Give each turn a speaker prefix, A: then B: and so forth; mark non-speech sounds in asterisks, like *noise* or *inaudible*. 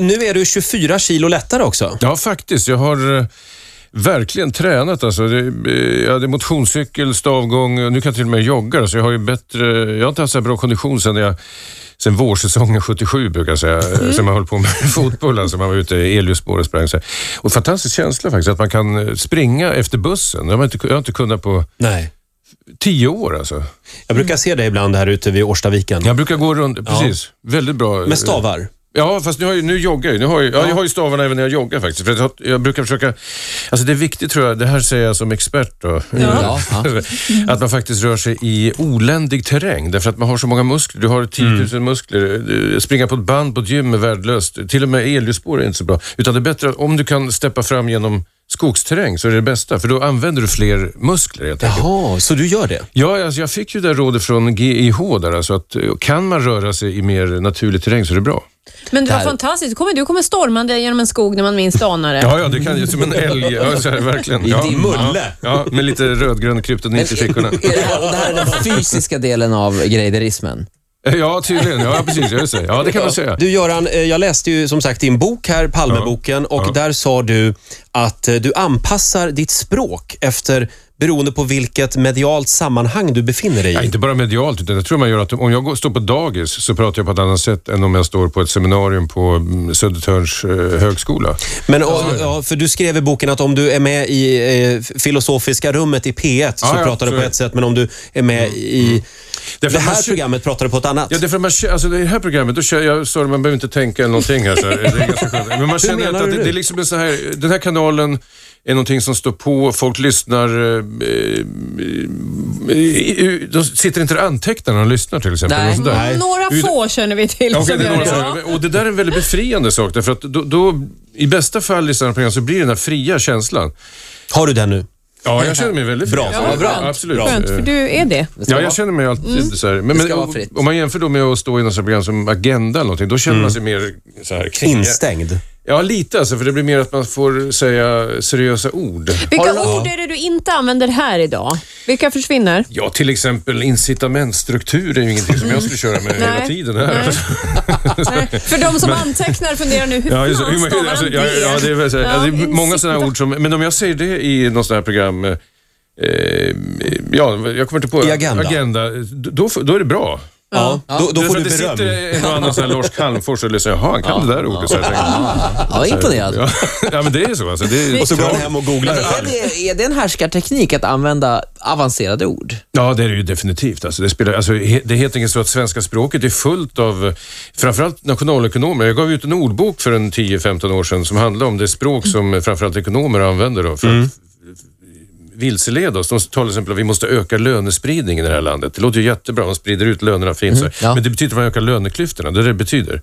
A: nu är du 24 kilo lättare också.
B: Ja, faktiskt. Jag har eh, verkligen tränat. Alltså. Det, eh, jag hade motionscykel, stavgång, och nu kan jag till och med jogga. Så jag har ju bättre... Jag har inte haft så här bra kondition sedan jag Sen vårsäsongen 77 brukar jag säga, mm. sen man höll på med *laughs* fotboll, alltså man var ute i elljusspår och sprang. Så här. Och fantastisk känsla faktiskt, att man kan eh, springa efter bussen. Det har man inte, jag har inte kunnat på
A: Nej.
B: tio år alltså.
A: Jag brukar se dig ibland här ute vid Årstaviken.
B: Jag brukar gå runt, precis. Väldigt bra. eh,
A: Med stavar.
B: Ja, fast nu, har jag, nu joggar jag ju. Nu har jag, ja. jag har ju stavarna även när jag joggar faktiskt. För att jag, jag brukar försöka... Alltså det är viktigt tror jag, det här säger jag som expert då. Mm.
C: Ja.
B: *laughs* att man faktiskt rör sig i oländig terräng. Därför att man har så många muskler. Du har 10 000
C: Mm.
B: muskler. Du- Springa på ett band på ett gym är värdelöst. Till och med elljusspår är inte så bra. Utan det är bättre att- om du kan steppa fram genom skogsterräng så är det det bästa. För då använder du fler muskler helt enkelt.
A: Jaha, så du gör det?
B: Ja, alltså jag fick ju det rådet från GIH där, alltså att eh, kan man röra sig i mer naturlig terräng så är det bra.
C: Men det var
A: Där.
C: fantastiskt. Du kommer, du kommer stormande genom en skog när man minst anar det.
B: Ja, ja, det kan ju som en älg. Ja, så här, verkligen.
A: I
B: ja.
A: din mulle.
B: Ja, med lite rödgrön kryptonit i fickorna.
D: *laughs* Är det, här, och det här är den fysiska delen av grejderismen.
B: *laughs* Ja, tydligen. Ja, precis. Jag säger. Ja, det kan man säga.
A: Du Göran, eh, jag läste ju som sagt din bok här, Palmeboken, och där sa du att eh, du anpassar ditt språk efter beroende på vilket medialt sammanhang du befinner dig
B: Ja,
A: i.
B: inte bara medialt, utan jag tror man gör att om jag går, står på dagis så pratar jag på ett annat sätt än om jag står på ett seminarium på mm, Södertörns eh, högskola.
A: Men, och, ja, för du skrev i boken att om du är med i eh, filosofiska rummet i P1 så
B: Ja, ja,
A: pratar du
B: så
A: på
B: är det.
A: ett sätt, men om du är med i
B: Därför
A: Mm. det
B: man
A: här
B: kö-
A: programmet pratar du på ett annat.
B: Ja, därför man, kö- alltså det här programmet, då kör jag, sorry, man behöver inte tänka eller någonting här. Så här. Det är ganska skönt. Men man känner
A: menar
B: att,
A: du
B: att det,
A: nu?
B: det är liksom en så här, den här kanalen är någonting som står på, folk lyssnar, eh, eh, de sitter inte och antecknar när de lyssnar till exempel.
D: Nej.
B: och sådär.
C: Några
B: Ut-
C: få känner vi till
B: Ja, okej,
C: som
B: det är
C: gör
B: några
C: det.
B: saker. Och det där är en väldigt befriande sak därför att då, då i bästa fall i sådana program så blir det den här fria känslan.
A: Har du den nu?
B: Ja, jag känner mig väldigt fri.
A: Bra.
B: alltså.
A: Ja,
D: bra.
B: Absolut.
C: Skönt, för du är det.
B: Ja,
D: Det ska vara. Mm.
B: jag känner mig alltid så här. Men,
D: Det ska
B: men,
D: vara
B: och-
D: fritt. Mm.
B: om man jämför då med att stå i något sånt program som Agenda eller någonting, då känner man sig mer så här kring-
A: Instängd.
B: Ja, lite alltså, för det blir mer att man får säga seriösa ord.
C: Vilka ord är det du inte använder här idag? Vilka försvinner?
B: Ja, till exempel incitamentstruktur är ju ingenting som jag skulle köra med
D: Mm.
B: hela
C: Nej.
B: tiden här.
C: Nej. För de som antecknar funderar nu,
B: *laughs*
C: hur
B: Ja,
C: fan
B: just, hur,
C: stavar
B: man- alltså,
C: han
B: ja, ja, det är väl så här,
C: Ja,
B: alltså, det är många
C: insikt-
B: sådana ord som, men om jag säger det i något sånt här program, eh, eh, ja, jag kommer inte på
A: I Agenda.
B: agenda då, då är det bra.
A: Ja. Då, då
B: Det är
A: får
B: för
A: du
B: att
A: beröm.
B: Det sitter en och annan sån här Lars Calmfors och lyssnar, jaha, han kan det där ordet. Så jag tänker,
D: Ja, imponerad.
B: ja. ja, men det är så alltså. Det är,
A: Och så går han hem och googlar det
D: Är
A: själv.
D: det, är det en härskarteknik att använda avancerade ord?
B: Ja, det är det ju definitivt. Alltså, det, spelar, alltså, he- det är helt enkelt så att svenska språket är fullt av eh, framförallt nationalekonomer. Jag gav ut en ordbok för en 10-15 år sedan som handlade om det språk
D: Mm.
B: som eh, framförallt ekonomer använder då, för att vilseleda oss. De talar till exempel om att vi måste öka lönespridningen i det här landet. Det låter ju jättebra, de sprider ut lönerna fint. så här.
D: Mm. ja.
B: Men det betyder att man ökar löneklyftorna, det är det det betyder.